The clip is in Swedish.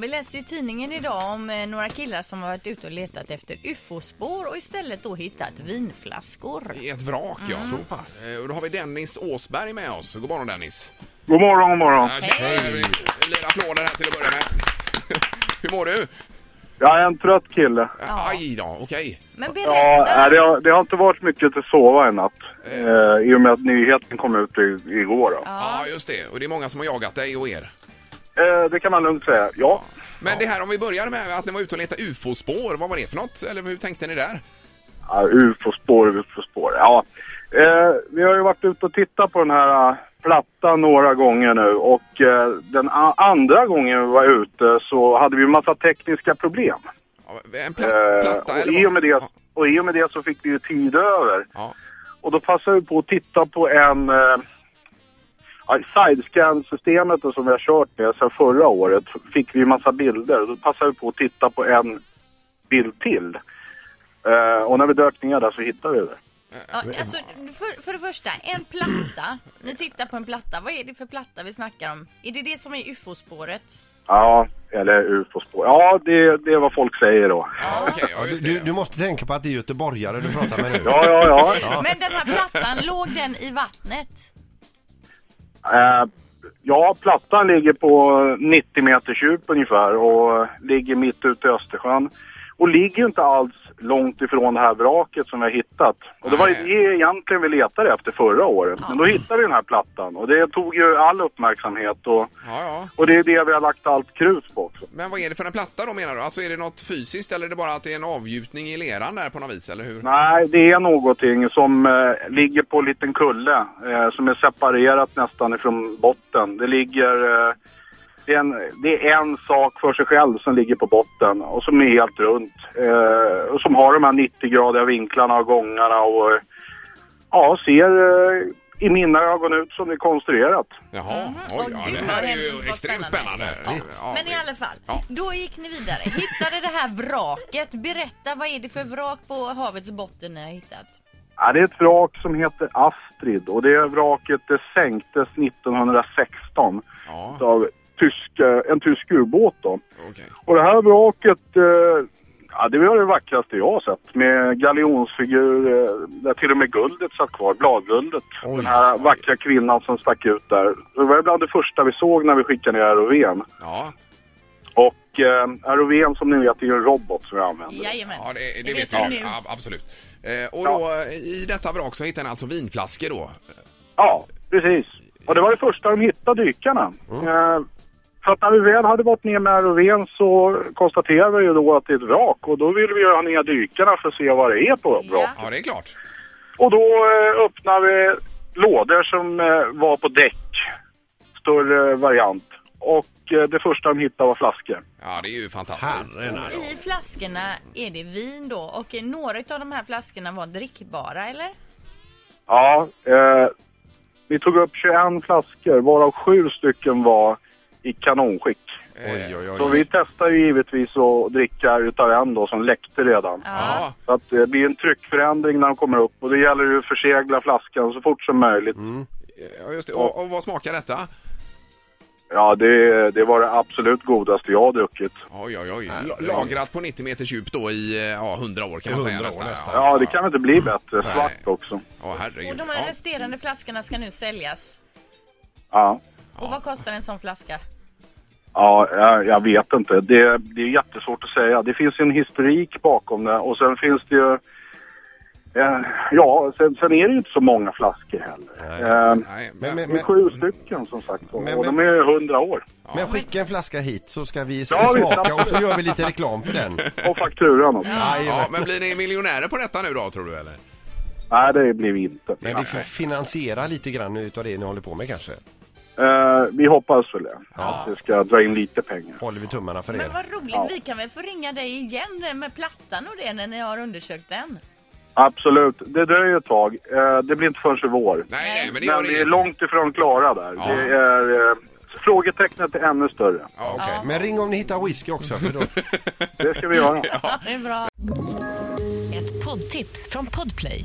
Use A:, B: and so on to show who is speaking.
A: vi läste ju i tidningen idag om eh, några killar som har varit ute och letat efter ufo-spår och istället då hittat vinflaskor.
B: I ett vrak, ja.
C: Mm. Så pass.
B: Eh, Och då har vi Dennis Åsberg med oss. God morgon Dennis.
D: God morgon, god morgon.
B: Ja, tjena.
C: Hej.
B: Lite applåder här till att börja med. Hur mår du?
D: Jag är en trött kille.
B: Aj då, okej.
A: Men
D: Ja,
A: berätta!
D: nej, det, har, det har inte varit mycket till sova i natt. Eh, I och med att nyheten kom ut i, igår. Då.
B: Ja, just det. Och det är många som har jagat dig och er.
D: Eh, det kan man lugnt säga. Ja.
B: Men det här om vi börjar med att ni var ute och letade ufo-spår, vad var det för något? Eller hur tänkte ni där?
D: Ja, UFO-spår, UFO-spår. Ja. Eh, vi har ju varit ute och tittat på den här eh, plattan några gånger nu och eh, den a- andra gången vi var ute så hade vi en massa tekniska problem.
B: Ja, En
D: Eh,
B: pla- platta?
D: och,
B: eller
D: i
B: vad?
D: och, med det,
B: Ja,
D: och i och med det så fick vi ju tid över.
B: ja.
D: Och då passade vi på att titta på en... Eh, ja, Sidescan-systemet då som vi har kört med sedan förra året fick vi en massa bilder. Då passade vi på att titta på en bild till. Eh, och när vi dök ner där så hittade vi det.
A: Ja, alltså, för, för det första, en platta. Ni tittar på en platta. Vad är det för platta vi snackar om? Är det det som är ufo-spåret?
D: Ja, eller ufo-spår. Ja, det, det är vad folk säger då.
B: ja okej. Ja, just
C: Du,
B: det.
C: du måste tänka på att det är göteborgare du pratar med nu.
D: Ja, ja, ja.
A: Men den här plattan, låg den i vattnet?
D: Eh, ja, plattan ligger på 90 meters djup ungefär och ligger mitt ute i Östersjön. Och ligger inte alls långt ifrån det här vraket som vi har hittat. Och det var ju
B: Nej.
D: det egentligen vi letade efter förra året. Men då hittade vi den här plattan och det tog ju all uppmärksamhet och,
B: Ja, ja.
D: och det är det vi har lagt allt krut på också.
B: Men vad är det för en platta då menar du? Alltså är det något fysiskt eller är det bara att det är en avgjutning i leran där på något vis eller hur?
D: Nej, det är någonting som eh, ligger på en liten kulle eh, som är separerat nästan ifrån botten. Det ligger... Eh, det, är en, det är en sak för sig själv som ligger på botten och som är helt runt. Eh, och som har de här 90-gradiga vinklarna och gångarna och... eh, Ja, ser eh, i mina ögon ut som det är konstruerat.
B: Jaha,
A: Mhm.
B: oj,
A: Och
B: ja,
A: det
B: det
A: var
B: här är ju
A: väldigt
B: extremt
A: spännande.
B: spännande. Ja,
A: Men i
B: det-
A: alla fall,
B: Ja.
A: då gick ni vidare. Hittade det här vraket. Berätta, vad är det för vrak på havets botten ni har hittat?
D: Ja, det är ett vrak som heter Astrid och det vraket det sänktes 1916
B: Ja,
D: av tysk, eh, en tysk ubåt då.
B: okej.
D: Och det här vraket, eh, ja, det var det vackraste jag har sett. Med galjonsfigur, eh, där till och med guldet satt kvar, bladguldet.
C: Oj.
D: Den här vackra kvinnan som stack ut där. Det var bland det första vi såg när vi skickade ner ROVn.
B: Ja,
D: Och eh, ROVn som ni vet är ju en robot som vi använder.
A: Jajamän.
B: ja det, det
A: Det
B: vet
A: vet
B: vi
A: vi nu.
B: nu. Ja, absolut. Eh, Och då eh, i detta vrak så hittar ni alltså vinflaskor då?
D: Ja, precis. Och det var det första de hittade dykarna. Eh, för att när vi väl hade varit ner med ROVn så konstaterade vi ju då att det är ett vrak. Och då ville vi ju ha ner dykarna för att se vad det är på vraket.
A: Ja.
B: Ja, det är klart.
D: Och då eh, öppnade vi lådor som eh, var på däck, större variant. Och eh, det första de hittade var flaskor.
B: Ja, det är ju fantastiskt.
C: Herrarna.
A: I flaskorna är det vin då och eh, några av de här flaskorna var drickbara eller?
D: Ja, eh, vi tog upp 21 flaskor varav sju stycken var i kanonskick.
B: Eh,
C: Oj, oj,
D: Så
C: oj.
D: vi testade ju givetvis att dricka utav en då som läckte redan.
B: Ja,
D: Så att eh, det blir en tryckförändring när de kommer upp och det gäller ju att försegla flaskan så fort som möjligt.
B: ja, just det. Och, och vad smakar detta?
D: Ja, det, det var det absolut godaste jag har druckit.
B: Oj, oj, oj. La- Lagrat på 90 meters djup då i eh, ja, 100 år kan man
C: 100
B: säga
C: år
B: nästan.
C: nästan.
D: Ja, det kan väl inte bli bättre.
B: Nej.
D: Svart också.
B: Ja, herregud.
A: Och de
B: Ja.
A: här resterande flaskorna ska nu säljas.
D: Ja.
A: Och vad kostar en sån flaska?
D: Ja, jag, jag vet inte. Det, det är jättesvårt att säga. Det finns ju en historik bakom det och sen finns det ju... Eh, ja, sen, sen är det ju inte så många flaskor heller. Eh,
B: Nej,
C: Men,
B: men,
C: men,
D: det är
C: men,
D: sju stycken som sagt och
C: Men-
D: och de är hundra år.
C: men skicka en flaska hit så ska vi
D: Ja, vi-
C: smaka och så gör vi lite reklam för den.
D: Och fakturan också.
B: ja,
C: Jajamän.
B: men blir ni miljonärer på detta nu då tror du eller?
D: Nej, det blir vi inte.
C: Men vi får finansiera lite grann utav det ni håller på med kanske.
D: Eh, vi hoppas väl det. Att vi ska dra in lite pengar.
C: Håller vi tummarna för
A: Men
C: er.
A: vad roligt, vi kan väl få ringa dig igen med plattan och det när ni har undersökt den?
D: Absolut. Det dröjer ett tag. Eh, det blir inte förrän i vår.
B: Nej, nej, men det gör
D: Men vi är
B: inget.
D: långt ifrån klara där.
B: Ja.
D: Det är, eh, frågetecknet är ännu större.
B: Ja, okej.
C: Men ring om ni hittar whisky också. För då...
D: Det ska vi göra.
A: Det är bra.
E: Ett poddtips från Podplay.